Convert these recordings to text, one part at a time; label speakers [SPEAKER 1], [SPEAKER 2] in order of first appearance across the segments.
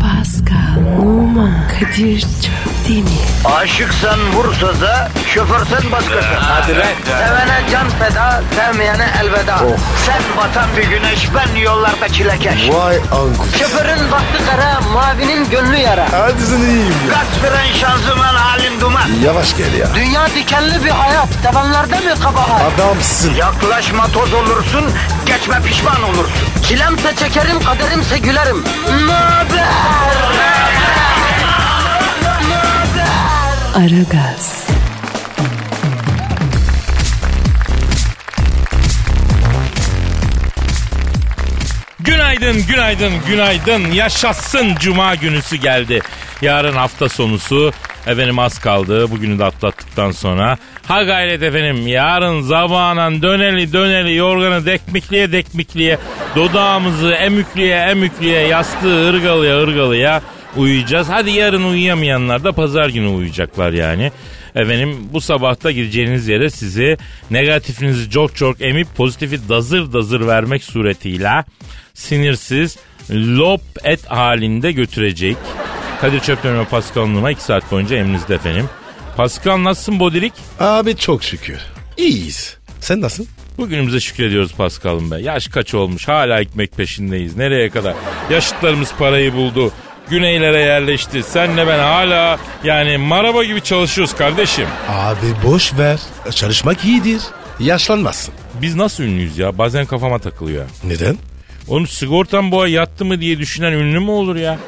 [SPEAKER 1] Pascal, Oman, Kadir çok değil mi?
[SPEAKER 2] Aşıksan vursa da şoförsen başkasın. Hadi
[SPEAKER 3] lan.
[SPEAKER 2] Sevene can feda, sevmeyene elveda.
[SPEAKER 3] Oh.
[SPEAKER 2] Sen batan bir güneş, ben yollarda çilekeş.
[SPEAKER 3] Vay anku.
[SPEAKER 2] Şoförün baktı kara, mavinin gönlü yara.
[SPEAKER 3] Hadi sen iyiyim ya.
[SPEAKER 2] Kasperen şanzıman halin duman.
[SPEAKER 3] Yavaş gel ya.
[SPEAKER 2] Dünya dikenli bir hayat, sevenlerde mi kabahar?
[SPEAKER 3] Adamsın.
[SPEAKER 2] Yaklaşma toz olursun, geçme pişman olursun. Çilemse çekerim, kaderimse gülerim. Möber!
[SPEAKER 1] Aragaz,
[SPEAKER 4] Günaydın, günaydın, günaydın. Yaşasın cuma günüsü geldi. Yarın hafta sonusu. Efendim az kaldı. Bugünü de atlattıktan sonra. Ha gayret efendim. Yarın zabanan döneli döneli yorganı dekmikliye dekmikliye. Dodağımızı emükliye emükliye yastığı ırgalıya ırgalıya uyuyacağız. Hadi yarın uyuyamayanlar da pazar günü uyuyacaklar yani. Efendim bu sabahta gideceğiniz yere sizi negatifinizi çok çok emip pozitifi dazır dazır vermek suretiyle sinirsiz lop et halinde götürecek. Kadir Çöpten ve Pascal Numa 2 saat boyunca emrinizde efendim. Pascal nasılsın Bodilik?
[SPEAKER 3] Abi çok şükür. İyiyiz. Sen nasılsın?
[SPEAKER 4] Bugünümüze şükrediyoruz Pascal'ım be. Yaş kaç olmuş hala ekmek peşindeyiz. Nereye kadar? Yaşıtlarımız parayı buldu. Güneylere yerleşti. Senle ben hala yani maraba gibi çalışıyoruz kardeşim.
[SPEAKER 3] Abi boş ver. Çalışmak iyidir. Yaşlanmazsın.
[SPEAKER 4] Biz nasıl ünlüyüz ya? Bazen kafama takılıyor.
[SPEAKER 3] Neden?
[SPEAKER 4] Oğlum sigortam bu ay yattı mı diye düşünen ünlü mü olur ya?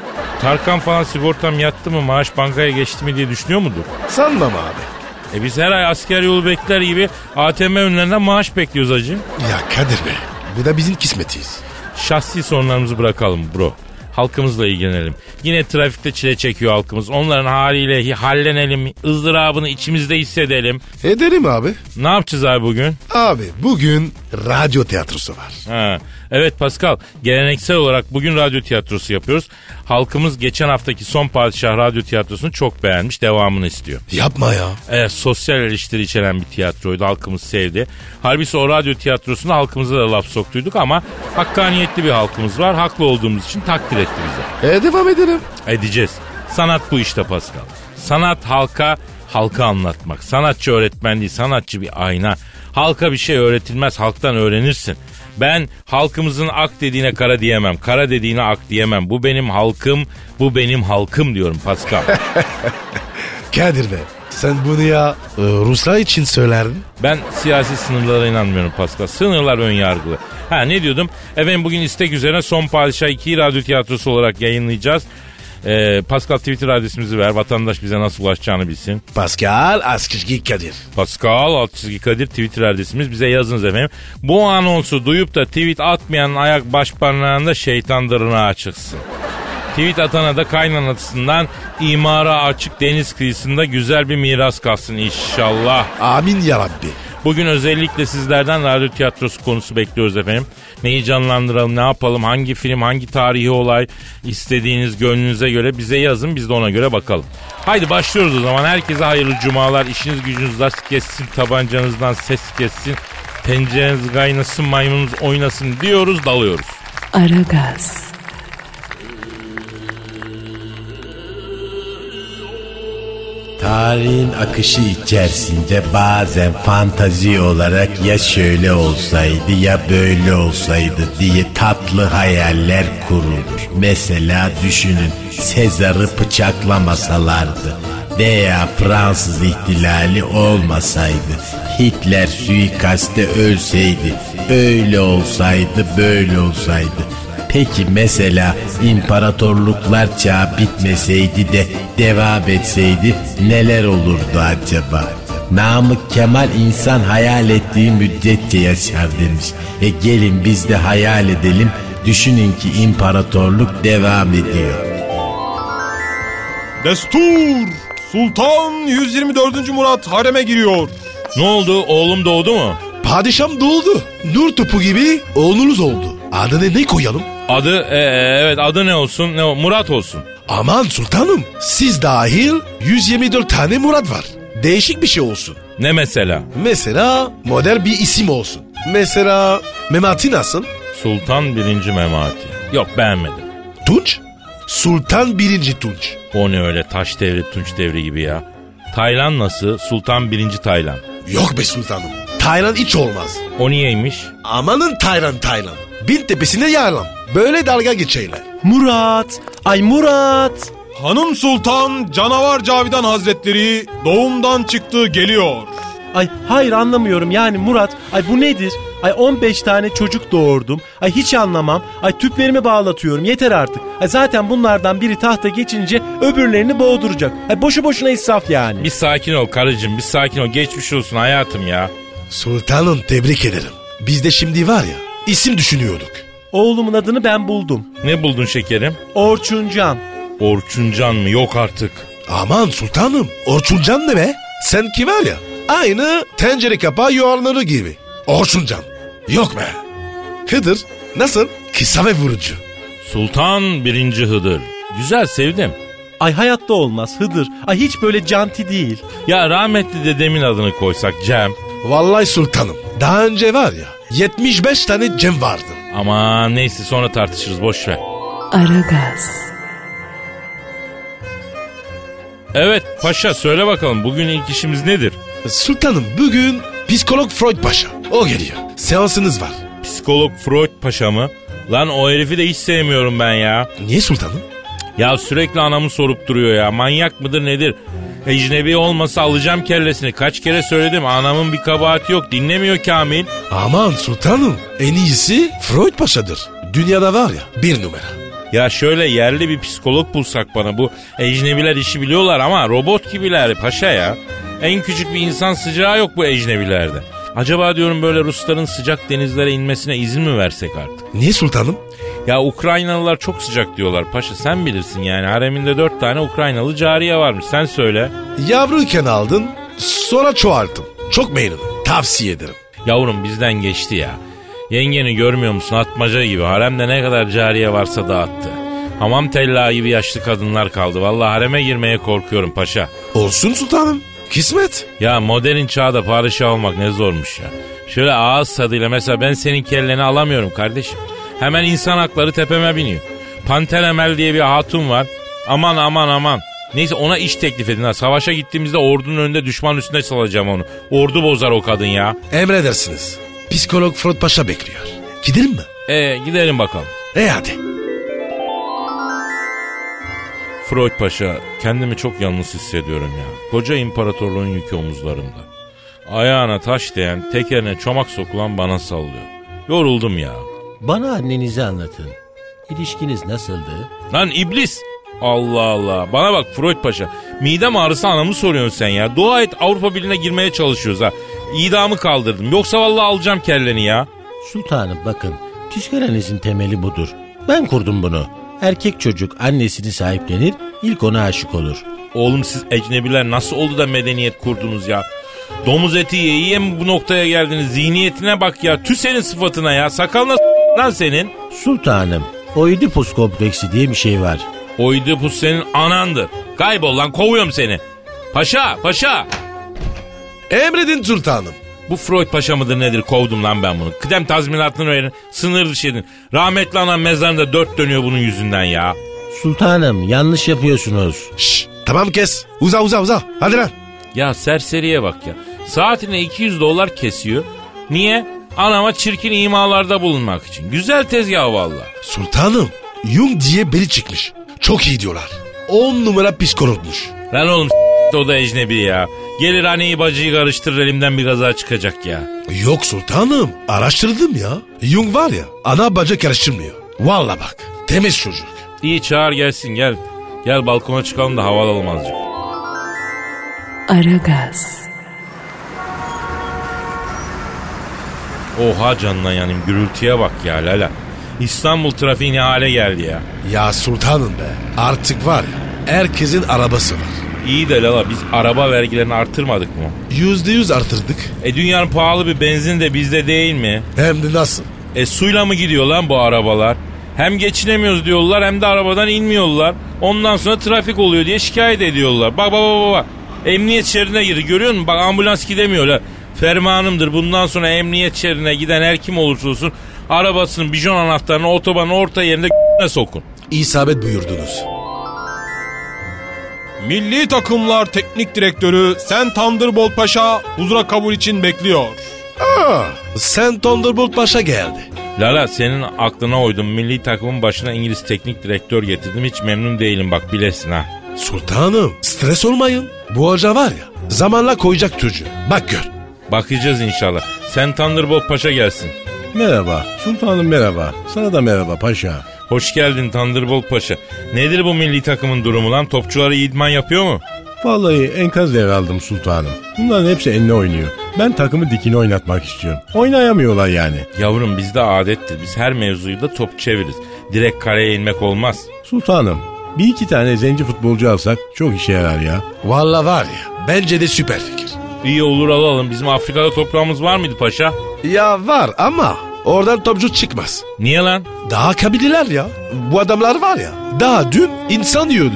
[SPEAKER 4] Tarkan falan sigortam yattı mı maaş bankaya geçti mi diye düşünüyor mudur?
[SPEAKER 3] Sanmam abi.
[SPEAKER 4] E biz her ay asker yolu bekler gibi ATM önlerinden maaş bekliyoruz acı.
[SPEAKER 3] Ya Kadir be. Bu da bizim kismetiyiz.
[SPEAKER 4] Şahsi sorunlarımızı bırakalım bro. Halkımızla ilgilenelim. Yine trafikte çile çekiyor halkımız. Onların haliyle hi- hallenelim. ızdırabını içimizde hissedelim.
[SPEAKER 3] Ederim abi.
[SPEAKER 4] Ne yapacağız abi bugün?
[SPEAKER 3] Abi bugün radyo tiyatrosu var.
[SPEAKER 4] Ha. Evet Pascal, geleneksel olarak bugün radyo tiyatrosu yapıyoruz. Halkımız geçen haftaki Son Padişah radyo tiyatrosunu çok beğenmiş, devamını istiyor.
[SPEAKER 3] Yapma ya.
[SPEAKER 4] Evet, sosyal eleştiri içeren bir tiyatroydu, halkımız sevdi. Halbuki o radyo tiyatrosunda halkımıza da laf soktuyduk ama hakkaniyetli bir halkımız var. Haklı olduğumuz için takdir etti bize.
[SPEAKER 3] E devam edelim.
[SPEAKER 4] Edeceğiz. Sanat bu işte Pascal. Sanat halka, halka anlatmak. Sanatçı öğretmen değil, sanatçı bir ayna. Halka bir şey öğretilmez, halktan öğrenirsin. Ben halkımızın ak dediğine kara diyemem, kara dediğine ak diyemem. Bu benim halkım, bu benim halkım diyorum Pascal.
[SPEAKER 3] Kadir be. Sen bunu ya e, Ruslar için söylerdin.
[SPEAKER 4] Ben siyasi sınırlara inanmıyorum Pascal. Sınırlar ön yargılı. Ha ne diyordum? Efendim bugün istek üzerine Son Padişah 2'yi radyo tiyatrosu olarak yayınlayacağız. Ee, Pascal Twitter adresimizi ver. Vatandaş bize nasıl ulaşacağını bilsin.
[SPEAKER 3] Pascal Askışki Kadir.
[SPEAKER 4] Pascal alt çizgi Kadir Twitter adresimiz. Bize yazınız efendim. Bu anonsu duyup da tweet atmayanın ayak baş parmağında şeytan dırnağı çıksın. Tweet atana da kaynanasından imara açık deniz kıyısında güzel bir miras kalsın inşallah.
[SPEAKER 3] Amin ya Rabbi.
[SPEAKER 4] Bugün özellikle sizlerden radyo tiyatrosu konusu bekliyoruz efendim. Neyi canlandıralım, ne yapalım, hangi film, hangi tarihi olay istediğiniz gönlünüze göre bize yazın. Biz de ona göre bakalım. Haydi başlıyoruz o zaman. Herkese hayırlı cumalar. İşiniz gücünüz rast kessin, tabancanızdan ses kessin. Tencereniz kaynasın, maymununuz oynasın diyoruz, dalıyoruz.
[SPEAKER 1] Aragaz,
[SPEAKER 5] Tarihin akışı içerisinde bazen fantazi olarak ya şöyle olsaydı ya böyle olsaydı diye tatlı hayaller kurulur. Mesela düşünün Sezar'ı bıçaklamasalardı veya Fransız ihtilali olmasaydı, Hitler suikaste ölseydi, öyle olsaydı böyle olsaydı. Peki mesela imparatorluklar çağı bitmeseydi de devam etseydi neler olurdu acaba? Namık Kemal insan hayal ettiği müddetçe yaşar demiş. E gelin biz de hayal edelim. Düşünün ki imparatorluk devam ediyor.
[SPEAKER 6] Destur! Sultan 124. Murat hareme giriyor.
[SPEAKER 4] Ne oldu? Oğlum doğdu mu?
[SPEAKER 3] Padişahım doğdu. Nur topu gibi oğlunuz oldu. Adını ne koyalım?
[SPEAKER 4] Adı, e, e, evet adı ne olsun? Ne, o- Murat olsun.
[SPEAKER 3] Aman sultanım siz dahil 124 tane Murat var. Değişik bir şey olsun.
[SPEAKER 4] Ne mesela?
[SPEAKER 3] Mesela modern bir isim olsun. Mesela Memati nasıl?
[SPEAKER 4] Sultan 1. Memati. Yok beğenmedim.
[SPEAKER 3] Tunç? Sultan 1. Tunç.
[SPEAKER 4] O ne öyle taş devri tunç devri gibi ya. Taylan nasıl? Sultan 1. Taylan.
[SPEAKER 3] Yok be sultanım. Taylan hiç olmaz.
[SPEAKER 4] O niyeymiş?
[SPEAKER 3] Amanın Taylan Taylan. Bin tepesine yağlam. Böyle dalga geçeyler.
[SPEAKER 7] Murat. Ay Murat.
[SPEAKER 6] Hanım Sultan Canavar Cavidan Hazretleri doğumdan çıktı geliyor.
[SPEAKER 7] Ay hayır anlamıyorum yani Murat. Ay bu nedir? Ay 15 tane çocuk doğurdum. Ay hiç anlamam. Ay tüplerimi bağlatıyorum yeter artık. Ay zaten bunlardan biri tahta geçince öbürlerini boğduracak. Ay boşu boşuna israf yani.
[SPEAKER 4] Bir sakin ol karıcığım bir sakin ol. Geçmiş olsun hayatım ya.
[SPEAKER 3] Sultanım tebrik ederim. Biz de şimdi var ya isim düşünüyorduk.
[SPEAKER 7] Oğlumun adını ben buldum.
[SPEAKER 4] Ne buldun şekerim?
[SPEAKER 7] Orçuncan.
[SPEAKER 4] Orçuncan mı? Yok artık.
[SPEAKER 3] Aman sultanım Orçuncan ne be? Sen ki var ya aynı tencere kapağı yuvarlanır gibi. Orçuncan. Yok be. Hıdır nasıl? Kısa ve vurucu.
[SPEAKER 4] Sultan 1. Hıdır. Güzel sevdim.
[SPEAKER 7] Ay hayatta olmaz Hıdır. Ay hiç böyle canti değil.
[SPEAKER 4] Ya rahmetli dedemin adını koysak Cem.
[SPEAKER 3] Vallahi sultanım daha önce var ya 75 tane cem vardı.
[SPEAKER 4] Ama neyse sonra tartışırız boş ver.
[SPEAKER 1] Aragaz,
[SPEAKER 4] Evet paşa söyle bakalım bugün ilk işimiz nedir?
[SPEAKER 3] Sultanım bugün psikolog Freud Paşa. O geliyor. Seansınız var.
[SPEAKER 4] Psikolog Freud paşa mı? Lan o herifi de hiç sevmiyorum ben ya.
[SPEAKER 3] Niye sultanım?
[SPEAKER 4] Ya sürekli anamı sorup duruyor ya. Manyak mıdır nedir? Ecnebi olmasa alacağım kellesini. Kaç kere söyledim anamın bir kabahati yok. Dinlemiyor Kamil.
[SPEAKER 3] Aman sultanım en iyisi Freud Paşa'dır. Dünyada var ya bir numara.
[SPEAKER 4] Ya şöyle yerli bir psikolog bulsak bana bu ecnebiler işi biliyorlar ama robot gibiler paşa ya. En küçük bir insan sıcağı yok bu ecnebilerde. Acaba diyorum böyle Rusların sıcak denizlere inmesine izin mi versek artık?
[SPEAKER 3] Niye sultanım?
[SPEAKER 4] Ya Ukraynalılar çok sıcak diyorlar paşa sen bilirsin yani hareminde dört tane Ukraynalı cariye varmış sen söyle.
[SPEAKER 3] Yavruyken aldın sonra çoğalttım. Çok memnunum. Tavsiye ederim.
[SPEAKER 4] Yavrum bizden geçti ya. Yengeni görmüyor musun atmaca gibi haremde ne kadar cariye varsa dağıttı. Hamam tellağı gibi yaşlı kadınlar kaldı. Vallahi hareme girmeye korkuyorum paşa.
[SPEAKER 3] Olsun sultanım. Kismet.
[SPEAKER 4] Ya modern çağda padişah olmak ne zormuş ya. Şöyle ağız tadıyla mesela ben senin kelleni alamıyorum kardeşim. Hemen insan hakları tepeme biniyor. Panter Emel diye bir hatun var. Aman aman aman. Neyse ona iş teklif edin. Ha. Savaşa gittiğimizde ordunun önünde düşman üstüne salacağım onu. Ordu bozar o kadın ya.
[SPEAKER 3] Emredersiniz. Psikolog Freud Paşa bekliyor. Gidelim mi?
[SPEAKER 4] E gidelim bakalım.
[SPEAKER 3] E hadi.
[SPEAKER 4] Freud Paşa kendimi çok yalnız hissediyorum ya. Koca imparatorluğun yükü omuzlarımda. Ayağına taş değen, tekerine çomak sokulan bana sallıyor. Yoruldum ya.
[SPEAKER 8] Bana annenizi anlatın. İlişkiniz nasıldı?
[SPEAKER 4] Lan iblis. Allah Allah. Bana bak Freud Paşa. Midem ağrısı anamı soruyorsun sen ya. Dua et Avrupa Birliği'ne girmeye çalışıyoruz ha. İdamı kaldırdım. Yoksa vallahi alacağım kelleni ya.
[SPEAKER 8] Sultanım bakın, tüskürenizin temeli budur. Ben kurdum bunu. Erkek çocuk annesini sahiplenir, ilk ona aşık olur.
[SPEAKER 4] Oğlum siz ecnebiler nasıl oldu da medeniyet kurdunuz ya? Domuz eti ye yiye mi bu noktaya geldiniz? Zihniyetine bak ya. Tü senin sıfatına ya. Sakalına s- lan senin.
[SPEAKER 8] Sultanım, Oedipus kompleksi diye bir şey var.
[SPEAKER 4] Oidipus senin anandır. Kaybol lan kovuyorum seni. Paşa paşa.
[SPEAKER 3] Emredin sultanım.
[SPEAKER 4] Bu Freud paşa mıdır nedir kovdum lan ben bunu. Kıdem tazminatını verin sınır dışı edin. Rahmetli anam mezarında dört dönüyor bunun yüzünden ya.
[SPEAKER 8] Sultanım, yanlış yapıyorsunuz.
[SPEAKER 3] Şş, tamam kes. Uza uza uza. Hadi lan.
[SPEAKER 4] Ya serseriye bak ya. Saatine 200 dolar kesiyor. Niye? Anama çirkin imalarda bulunmak için. Güzel tezgah valla.
[SPEAKER 3] Sultanım. Jung diye biri çıkmış. Çok iyi diyorlar. 10 numara psikologmuş.
[SPEAKER 4] Lan oğlum s- o da ecnebi ya. Gelir anneyi bacıyı karıştırır elimden bir kaza çıkacak ya.
[SPEAKER 3] Yok sultanım. Araştırdım ya. Jung var ya ana bacak karıştırmıyor. Valla bak. Temiz çocuk.
[SPEAKER 4] İyi çağır gelsin gel. Gel balkona çıkalım da havalanalım azıcık.
[SPEAKER 1] Aragaz,
[SPEAKER 4] Oha canına yanayım gürültüye bak ya lala. İstanbul trafiği ne hale geldi ya.
[SPEAKER 3] Ya sultanım be. Artık var ya. Herkesin arabası var.
[SPEAKER 4] İyi de lala biz araba vergilerini artırmadık mı?
[SPEAKER 3] Yüzde yüz artırdık.
[SPEAKER 4] E dünyanın pahalı bir benzin de bizde değil mi?
[SPEAKER 3] Hem de nasıl?
[SPEAKER 4] E suyla mı gidiyor lan bu arabalar? Hem geçinemiyoruz diyorlar hem de arabadan inmiyorlar. Ondan sonra trafik oluyor diye şikayet ediyorlar. Bak bak bak bak, bak. Emniyet şeridine girdi görüyor musun? Bak ambulans gidemiyor la. Fermanımdır bundan sonra emniyet şeridine giden her kim olursa olsun Arabasının bijon anahtarını otobanın orta yerinde sokun.
[SPEAKER 3] İsabet buyurdunuz.
[SPEAKER 6] Milli takımlar teknik direktörü Sen Thunderbolt Paşa huzura kabul için bekliyor.
[SPEAKER 3] Aa, sen Ah, Thunderbolt Paşa geldi.
[SPEAKER 4] Lala senin aklına uydum. Milli takımın başına İngiliz teknik direktör getirdim. Hiç memnun değilim bak bilesin ha.
[SPEAKER 3] Sultanım stres olmayın. Bu hoca var ya zamanla koyacak çocuğu. Bak gör.
[SPEAKER 4] Bakacağız inşallah. Sen Thunderbolt Paşa gelsin.
[SPEAKER 5] Merhaba. Sultanım merhaba. Sana da merhaba paşa.
[SPEAKER 4] Hoş geldin Thunderbolt Paşa. Nedir bu milli takımın durumu lan? Topçuları iyi idman yapıyor mu?
[SPEAKER 5] Vallahi enkaz devraldım sultanım. Bunların hepsi eline oynuyor. Ben takımı dikine oynatmak istiyorum. Oynayamıyorlar yani.
[SPEAKER 4] Yavrum bizde adettir. Biz her mevzuyu da top çeviririz. Direkt kareye inmek olmaz.
[SPEAKER 5] Sultanım bir iki tane zenci futbolcu alsak çok işe yarar ya.
[SPEAKER 3] Valla var ya bence de süper fikir.
[SPEAKER 4] İyi olur alalım. Bizim Afrika'da toprağımız var mıydı paşa?
[SPEAKER 3] Ya var ama oradan topçu çıkmaz.
[SPEAKER 4] Niye lan?
[SPEAKER 3] Daha kabileler ya. Bu adamlar var ya. Daha dün insan yiyordu.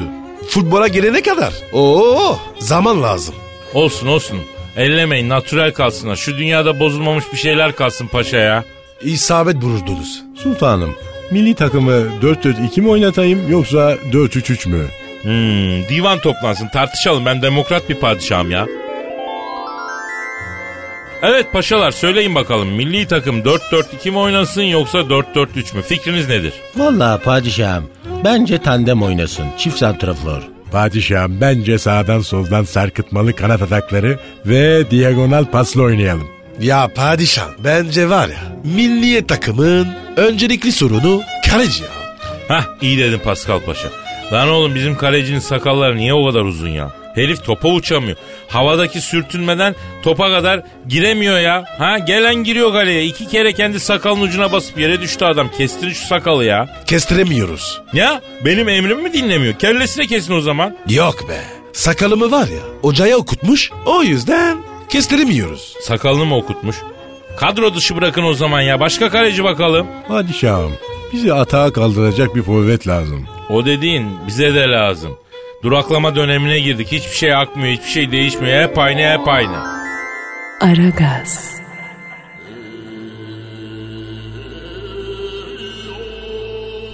[SPEAKER 3] Futbola gelene kadar. Oo zaman lazım.
[SPEAKER 4] Olsun olsun. Ellemeyin natürel kalsınlar. Şu dünyada bozulmamış bir şeyler kalsın paşa ya.
[SPEAKER 3] İsabet bulurdunuz.
[SPEAKER 5] Sultanım milli takımı 4-4-2 mi oynatayım yoksa 4-3-3 mü?
[SPEAKER 4] Hmm, divan toplansın tartışalım ben demokrat bir padişahım ya. Evet paşalar söyleyin bakalım milli takım 4-4-2 mi oynasın yoksa 4-4-3 mü? Fikriniz nedir?
[SPEAKER 8] Vallahi padişahım bence tandem oynasın. Çift santrafor.
[SPEAKER 5] Padişahım bence sağdan soldan sarkıtmalı kanat atakları ve diagonal pasla oynayalım.
[SPEAKER 3] Ya padişah bence var ya milliye takımın öncelikli sorunu kaleci ya.
[SPEAKER 4] Hah iyi dedin Pascal Paşa. Lan oğlum bizim kalecinin sakalları niye o kadar uzun ya? Herif topa uçamıyor. Havadaki sürtünmeden topa kadar giremiyor ya. Ha gelen giriyor kaleye. İki kere kendi sakalın ucuna basıp yere düştü adam. Kestirin şu sakalı ya.
[SPEAKER 3] Kestiremiyoruz.
[SPEAKER 4] Ya benim emrimi mi dinlemiyor? Kellesine kesin o zaman.
[SPEAKER 3] Yok be. Sakalımı var ya ocağa okutmuş o yüzden kestiremiyoruz.
[SPEAKER 4] Sakalını mı okutmuş? Kadro dışı bırakın o zaman ya. Başka kaleci bakalım.
[SPEAKER 5] Padişahım bizi atağa kaldıracak bir forvet lazım.
[SPEAKER 4] O dediğin bize de lazım. Duraklama dönemine girdik. Hiçbir şey akmıyor, hiçbir şey değişmiyor. Hep aynı, hep aynı.
[SPEAKER 1] Aragaz.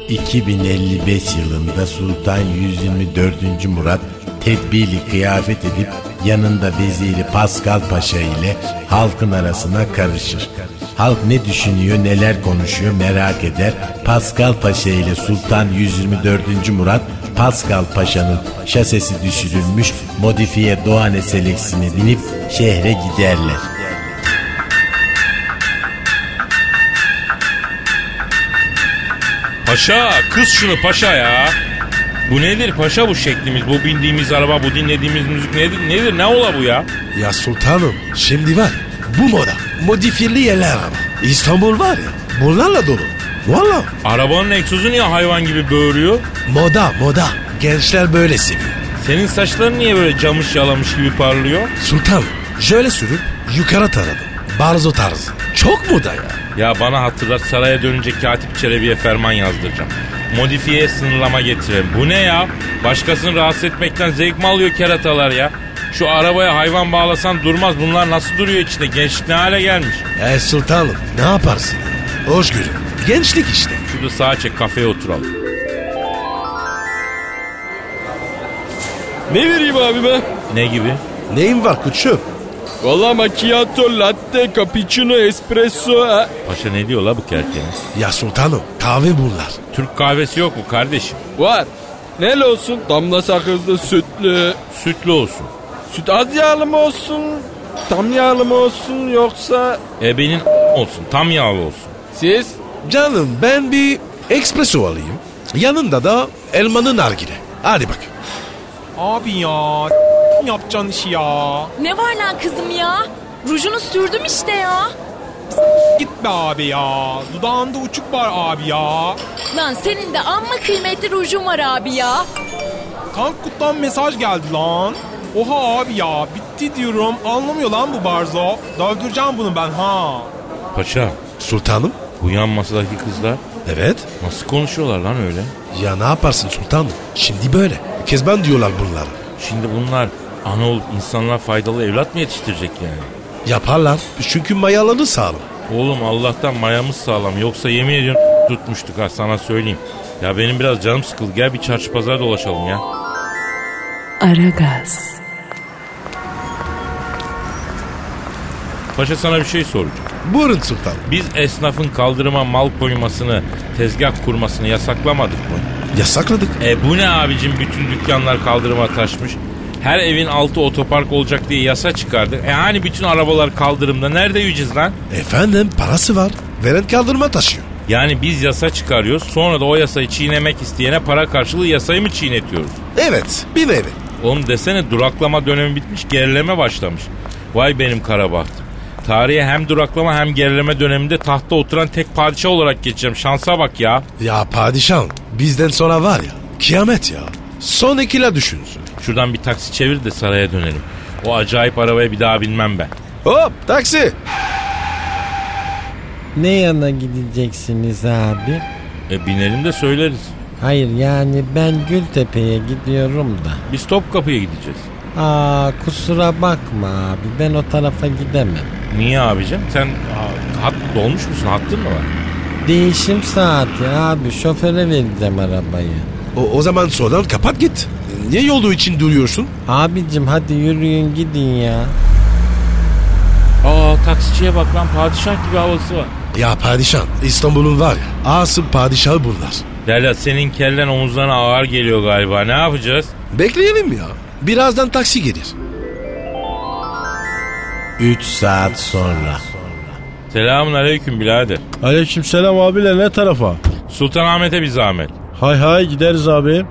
[SPEAKER 5] ...2055 yılında Sultan 124. Murat tedbirli kıyafet edip yanında veziri Pascal Paşa ile halkın arasına karışır. Halk ne düşünüyor neler konuşuyor merak eder. Pascal Paşa ile Sultan 124. Murat Pascal Paşa'nın şasesi düşürülmüş modifiye Doğan seleksine binip şehre giderler.
[SPEAKER 4] Paşa, kız şunu paşa ya. Bu nedir paşa bu şeklimiz? Bu bindiğimiz araba, bu dinlediğimiz müzik nedir? Nedir? Ne ola bu ya?
[SPEAKER 3] Ya sultanım şimdi var ya, bu moda modifiyeli yerler ama. İstanbul var ya bunlarla dolu. Valla
[SPEAKER 4] Arabanın egzozu niye hayvan gibi böğürüyor?
[SPEAKER 3] moda moda gençler böyle seviyor.
[SPEAKER 4] Senin saçların niye böyle camış yalamış gibi parlıyor?
[SPEAKER 3] Sultanım şöyle sürüp yukarı taradım. Barzo tarzı. Çok moda ya.
[SPEAKER 4] Ya bana hatırlat saraya dönünce Katip Çelebi'ye ferman yazdıracağım. Modifiye sınırlama getirelim. Bu ne ya? Başkasını rahatsız etmekten zevk mi alıyor keratalar ya? Şu arabaya hayvan bağlasan durmaz. Bunlar nasıl duruyor içinde? Gençlik ne hale gelmiş?
[SPEAKER 3] E sultanım ne yaparsın? Hoşgörü. Gençlik işte.
[SPEAKER 4] Şurada sağa çek kafeye oturalım.
[SPEAKER 9] Ne vereyim abime?
[SPEAKER 4] Ne gibi?
[SPEAKER 3] Neyin var koçum?
[SPEAKER 9] Valla macchiato, latte, cappuccino, espresso. ha?
[SPEAKER 4] Paşa ne diyor la bu kertenin?
[SPEAKER 3] Ya sultanım kahve bunlar.
[SPEAKER 4] Türk kahvesi yok mu kardeşim?
[SPEAKER 9] Var. Nel olsun? Damla sakızlı, sütlü.
[SPEAKER 4] Sütlü olsun.
[SPEAKER 9] Süt az yağlı mı olsun? Tam yağlı mı olsun yoksa...
[SPEAKER 4] Ebenin olsun. Tam yağlı olsun.
[SPEAKER 9] Siz?
[SPEAKER 3] Canım ben bir espresso alayım. Yanında da elmanın nargile. Hadi bak.
[SPEAKER 6] Abi ya yapacağın işi ya.
[SPEAKER 10] Ne var lan kızım ya? Rujunu sürdüm işte ya.
[SPEAKER 6] Gitme abi ya. Dudağında uçuk var abi ya.
[SPEAKER 10] Lan senin de amma kıymetli rujun var abi ya.
[SPEAKER 6] Tankut'tan mesaj geldi lan. Oha abi ya bitti diyorum anlamıyor lan bu Barzo. Dövdüreceğim bunu ben ha.
[SPEAKER 4] Paşa
[SPEAKER 3] Sultanım?
[SPEAKER 4] bu yan masadaki kızlar
[SPEAKER 3] Evet.
[SPEAKER 4] nasıl konuşuyorlar lan öyle?
[SPEAKER 3] Ya ne yaparsın sultanım? Şimdi böyle. Kezban diyorlar bunlara.
[SPEAKER 4] Şimdi bunlar ana olup insanlara faydalı evlat mı yetiştirecek yani?
[SPEAKER 3] Yaparlar. Çünkü mayaları sağlam.
[SPEAKER 4] Oğlum Allah'tan mayamız sağlam. Yoksa yemin ediyorum tutmuştuk ha sana söyleyeyim. Ya benim biraz canım sıkıldı. Gel bir çarşı pazar dolaşalım ya.
[SPEAKER 1] Aragaz,
[SPEAKER 4] Paşa sana bir şey soracağım.
[SPEAKER 3] Buyurun sultanım.
[SPEAKER 4] Biz esnafın kaldırıma mal koymasını, tezgah kurmasını yasaklamadık mı?
[SPEAKER 3] Yasakladık.
[SPEAKER 4] E bu ne abicim bütün dükkanlar kaldırıma taşmış. Her evin altı otopark olacak diye yasa çıkardık. E hani bütün arabalar kaldırımda nerede yiyeceğiz lan?
[SPEAKER 3] Efendim parası var. Veren kaldırma taşıyor.
[SPEAKER 4] Yani biz yasa çıkarıyoruz sonra da o yasayı çiğnemek isteyene para karşılığı yasayı mı çiğnetiyoruz?
[SPEAKER 3] Evet bir nevi.
[SPEAKER 4] Oğlum desene duraklama dönemi bitmiş gerileme başlamış. Vay benim kara bahtım. Tarihe hem duraklama hem gerileme döneminde tahta oturan tek padişah olarak geçeceğim. Şansa bak ya.
[SPEAKER 3] Ya padişahım bizden sonra var ya kıyamet ya. Son ikile düşünsün.
[SPEAKER 4] Şuradan bir taksi çevir de saraya dönelim. O acayip arabaya bir daha binmem ben.
[SPEAKER 3] Hop taksi.
[SPEAKER 8] Ne yana gideceksiniz abi?
[SPEAKER 4] E binelim de söyleriz.
[SPEAKER 8] Hayır yani ben Gültepe'ye gidiyorum da.
[SPEAKER 4] Biz Topkapı'ya gideceğiz.
[SPEAKER 8] Aa kusura bakma abi ben o tarafa gidemem.
[SPEAKER 4] Niye abicim? Sen aa, hat dolmuş musun? Hattın mı var?
[SPEAKER 8] Değişim saati abi şoföre vereceğim arabayı.
[SPEAKER 3] O, o zaman sonradan kapat git. Niye yolda için duruyorsun?
[SPEAKER 8] Abicim hadi yürüyün gidin ya.
[SPEAKER 4] Aa taksiciye bak lan padişah gibi havası var.
[SPEAKER 3] Ya padişahım İstanbul'un var ya asıl padişahı bunlar.
[SPEAKER 4] Lala senin kellen omuzlarına ağır geliyor galiba. Ne yapacağız?
[SPEAKER 3] Bekleyelim ya. Birazdan taksi gelir.
[SPEAKER 5] 3 saat sonra.
[SPEAKER 4] Selamun aleyküm birader.
[SPEAKER 11] Aleyküm selam abiler ne tarafa?
[SPEAKER 4] Sultanahmet'e bir zahmet.
[SPEAKER 11] Hay hay gideriz abi.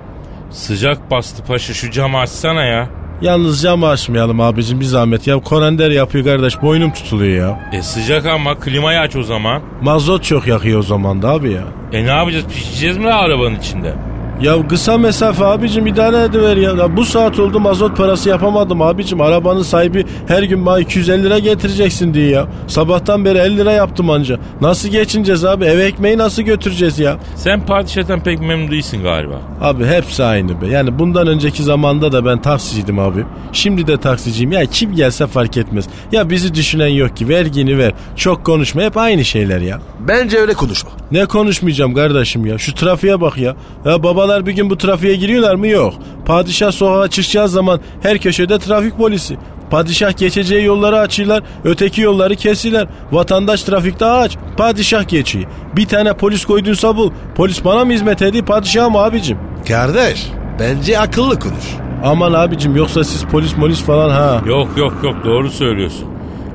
[SPEAKER 4] Sıcak bastı paşa şu camı açsana ya.
[SPEAKER 11] Yalnız camı açmayalım abicim bir zahmet ya. Korender yapıyor kardeş boynum tutuluyor ya.
[SPEAKER 4] E sıcak ama klimayı aç o zaman.
[SPEAKER 11] Mazot çok yakıyor o zaman da abi ya.
[SPEAKER 4] E ne yapacağız pişeceğiz mi lan arabanın içinde?
[SPEAKER 11] Ya kısa mesafe abicim idare ediver ya. ya. Bu saat oldu mazot parası yapamadım abicim. Arabanın sahibi her gün bana 250 lira getireceksin diye ya. Sabahtan beri 50 lira yaptım anca. Nasıl geçineceğiz abi? Eve ekmeği nasıl götüreceğiz ya?
[SPEAKER 4] Sen padişahtan pek memnun değilsin galiba.
[SPEAKER 11] Abi hepsi aynı be. Yani bundan önceki zamanda da ben taksiciydim abi. Şimdi de taksiciyim. Ya kim gelse fark etmez. Ya bizi düşünen yok ki. Vergini ver. Çok konuşma. Hep aynı şeyler ya.
[SPEAKER 3] Bence öyle konuşma.
[SPEAKER 11] Ne konuşmayacağım kardeşim ya? Şu trafiğe bak ya. Ya babalar bir gün bu trafiğe giriyorlar mı? Yok. Padişah sokağa çıkacağı zaman her köşede trafik polisi. Padişah geçeceği yolları açıyorlar, öteki yolları kesiler. Vatandaş trafikte ağaç, padişah geçiyor. Bir tane polis koydunsa bul. Polis bana mı hizmet ediyor, padişah mı abicim?
[SPEAKER 3] Kardeş bence akıllı konuş.
[SPEAKER 11] Aman abicim yoksa siz polis molis falan ha.
[SPEAKER 4] Yok yok yok doğru söylüyorsun.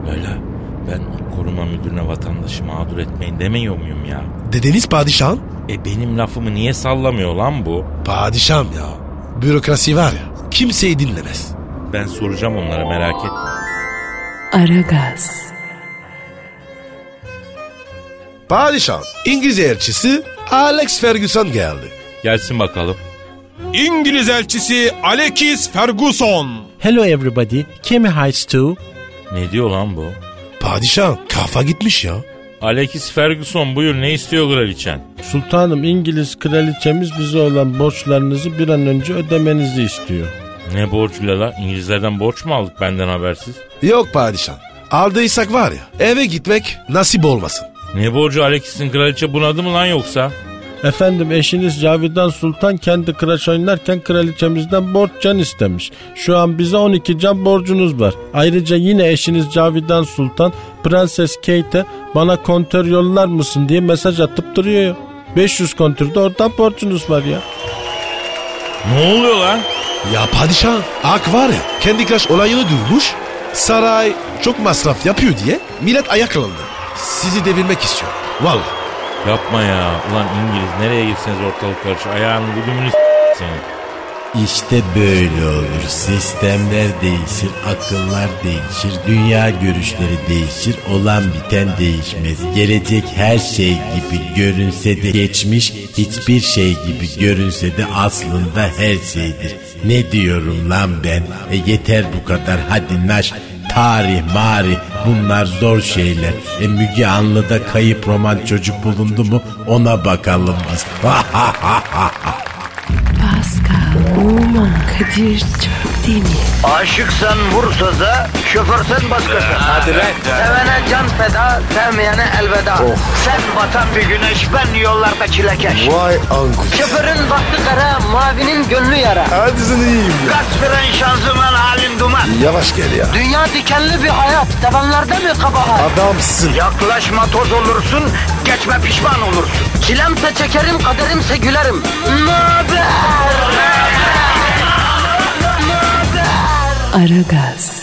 [SPEAKER 4] Lala ben o koruma müdürüne vatandaşı mağdur etmeyin demiyor muyum ya?
[SPEAKER 3] Dedeniz padişahım.
[SPEAKER 4] E benim lafımı niye sallamıyor lan bu?
[SPEAKER 3] Padişahım ya. Bürokrasi var ya kimseyi dinlemez.
[SPEAKER 4] Ben soracağım onlara merak etme.
[SPEAKER 1] Aragaz,
[SPEAKER 3] Padişahım İngiliz elçisi Alex Ferguson geldi.
[SPEAKER 4] Gelsin bakalım.
[SPEAKER 6] İngiliz elçisi Alexis Ferguson.
[SPEAKER 8] Hello everybody. Kemi Heights too.
[SPEAKER 4] Ne diyor lan bu?
[SPEAKER 3] Padişahım kafa gitmiş ya.
[SPEAKER 4] Alexis Ferguson buyur ne istiyor kraliçen?
[SPEAKER 11] Sultanım İngiliz kraliçemiz bize olan borçlarınızı bir an önce ödemenizi istiyor.
[SPEAKER 4] Ne borcu Lala? İngilizlerden borç mu aldık benden habersiz?
[SPEAKER 3] Yok padişahım. Aldıysak var ya eve gitmek nasip olmasın.
[SPEAKER 4] Ne borcu Alexis'in kraliçe bunadı mı lan yoksa?
[SPEAKER 11] Efendim eşiniz Cavidan Sultan kendi kıraç oynarken kraliçemizden borç can istemiş. Şu an bize 12 can borcunuz var. Ayrıca yine eşiniz Cavidan Sultan Prenses Kate'e bana kontör yollar mısın diye mesaj atıp duruyor. ya. 500 kontör de oradan borcunuz var ya.
[SPEAKER 4] Ne oluyor lan?
[SPEAKER 3] Ya padişah ak var ya kendi kaş olayını duymuş. Saray çok masraf yapıyor diye millet ayaklandı. Sizi devirmek istiyor. Vallahi.
[SPEAKER 4] Yapma ya. Ulan İngiliz nereye gitseniz ortalık karışır. Ayağını güdümünü senin.
[SPEAKER 5] İşte böyle olur. Sistemler değişir, akıllar değişir, dünya görüşleri değişir, olan biten değişmez. Gelecek her şey gibi görünse de geçmiş, hiçbir şey gibi görünse de aslında her şeydir. Ne diyorum lan ben? E yeter bu kadar hadi naş. Tarih, mari bunlar zor şeyler. E Müge Anlı'da kayıp roman çocuk bulundu mu ona bakalım biz. Ah!
[SPEAKER 1] Pascal, Oman, Kadir çok değil mi?
[SPEAKER 2] Aşıksan vursa da, şoförsen başkasın.
[SPEAKER 12] Hadi lan. Oh.
[SPEAKER 2] Sevene can feda, sevmeyene elveda. Sen batan bir güneş, ben yollarda çilekeş.
[SPEAKER 12] Vay anku.
[SPEAKER 2] Şoförün baktı kara, mavinin gönlü yara.
[SPEAKER 12] Hadi sen iyiyim ya.
[SPEAKER 2] Kasperen şanzıman halin duman.
[SPEAKER 12] Yavaş gel ya.
[SPEAKER 2] Dünya dikenli bir hayat, sevenlerde mi kabahar?
[SPEAKER 12] Adamsın.
[SPEAKER 2] Yaklaşma toz olursun, geçme pişman olursun. Çilemse çekerim, kaderimse gülerim. Möber!
[SPEAKER 1] Aragaz.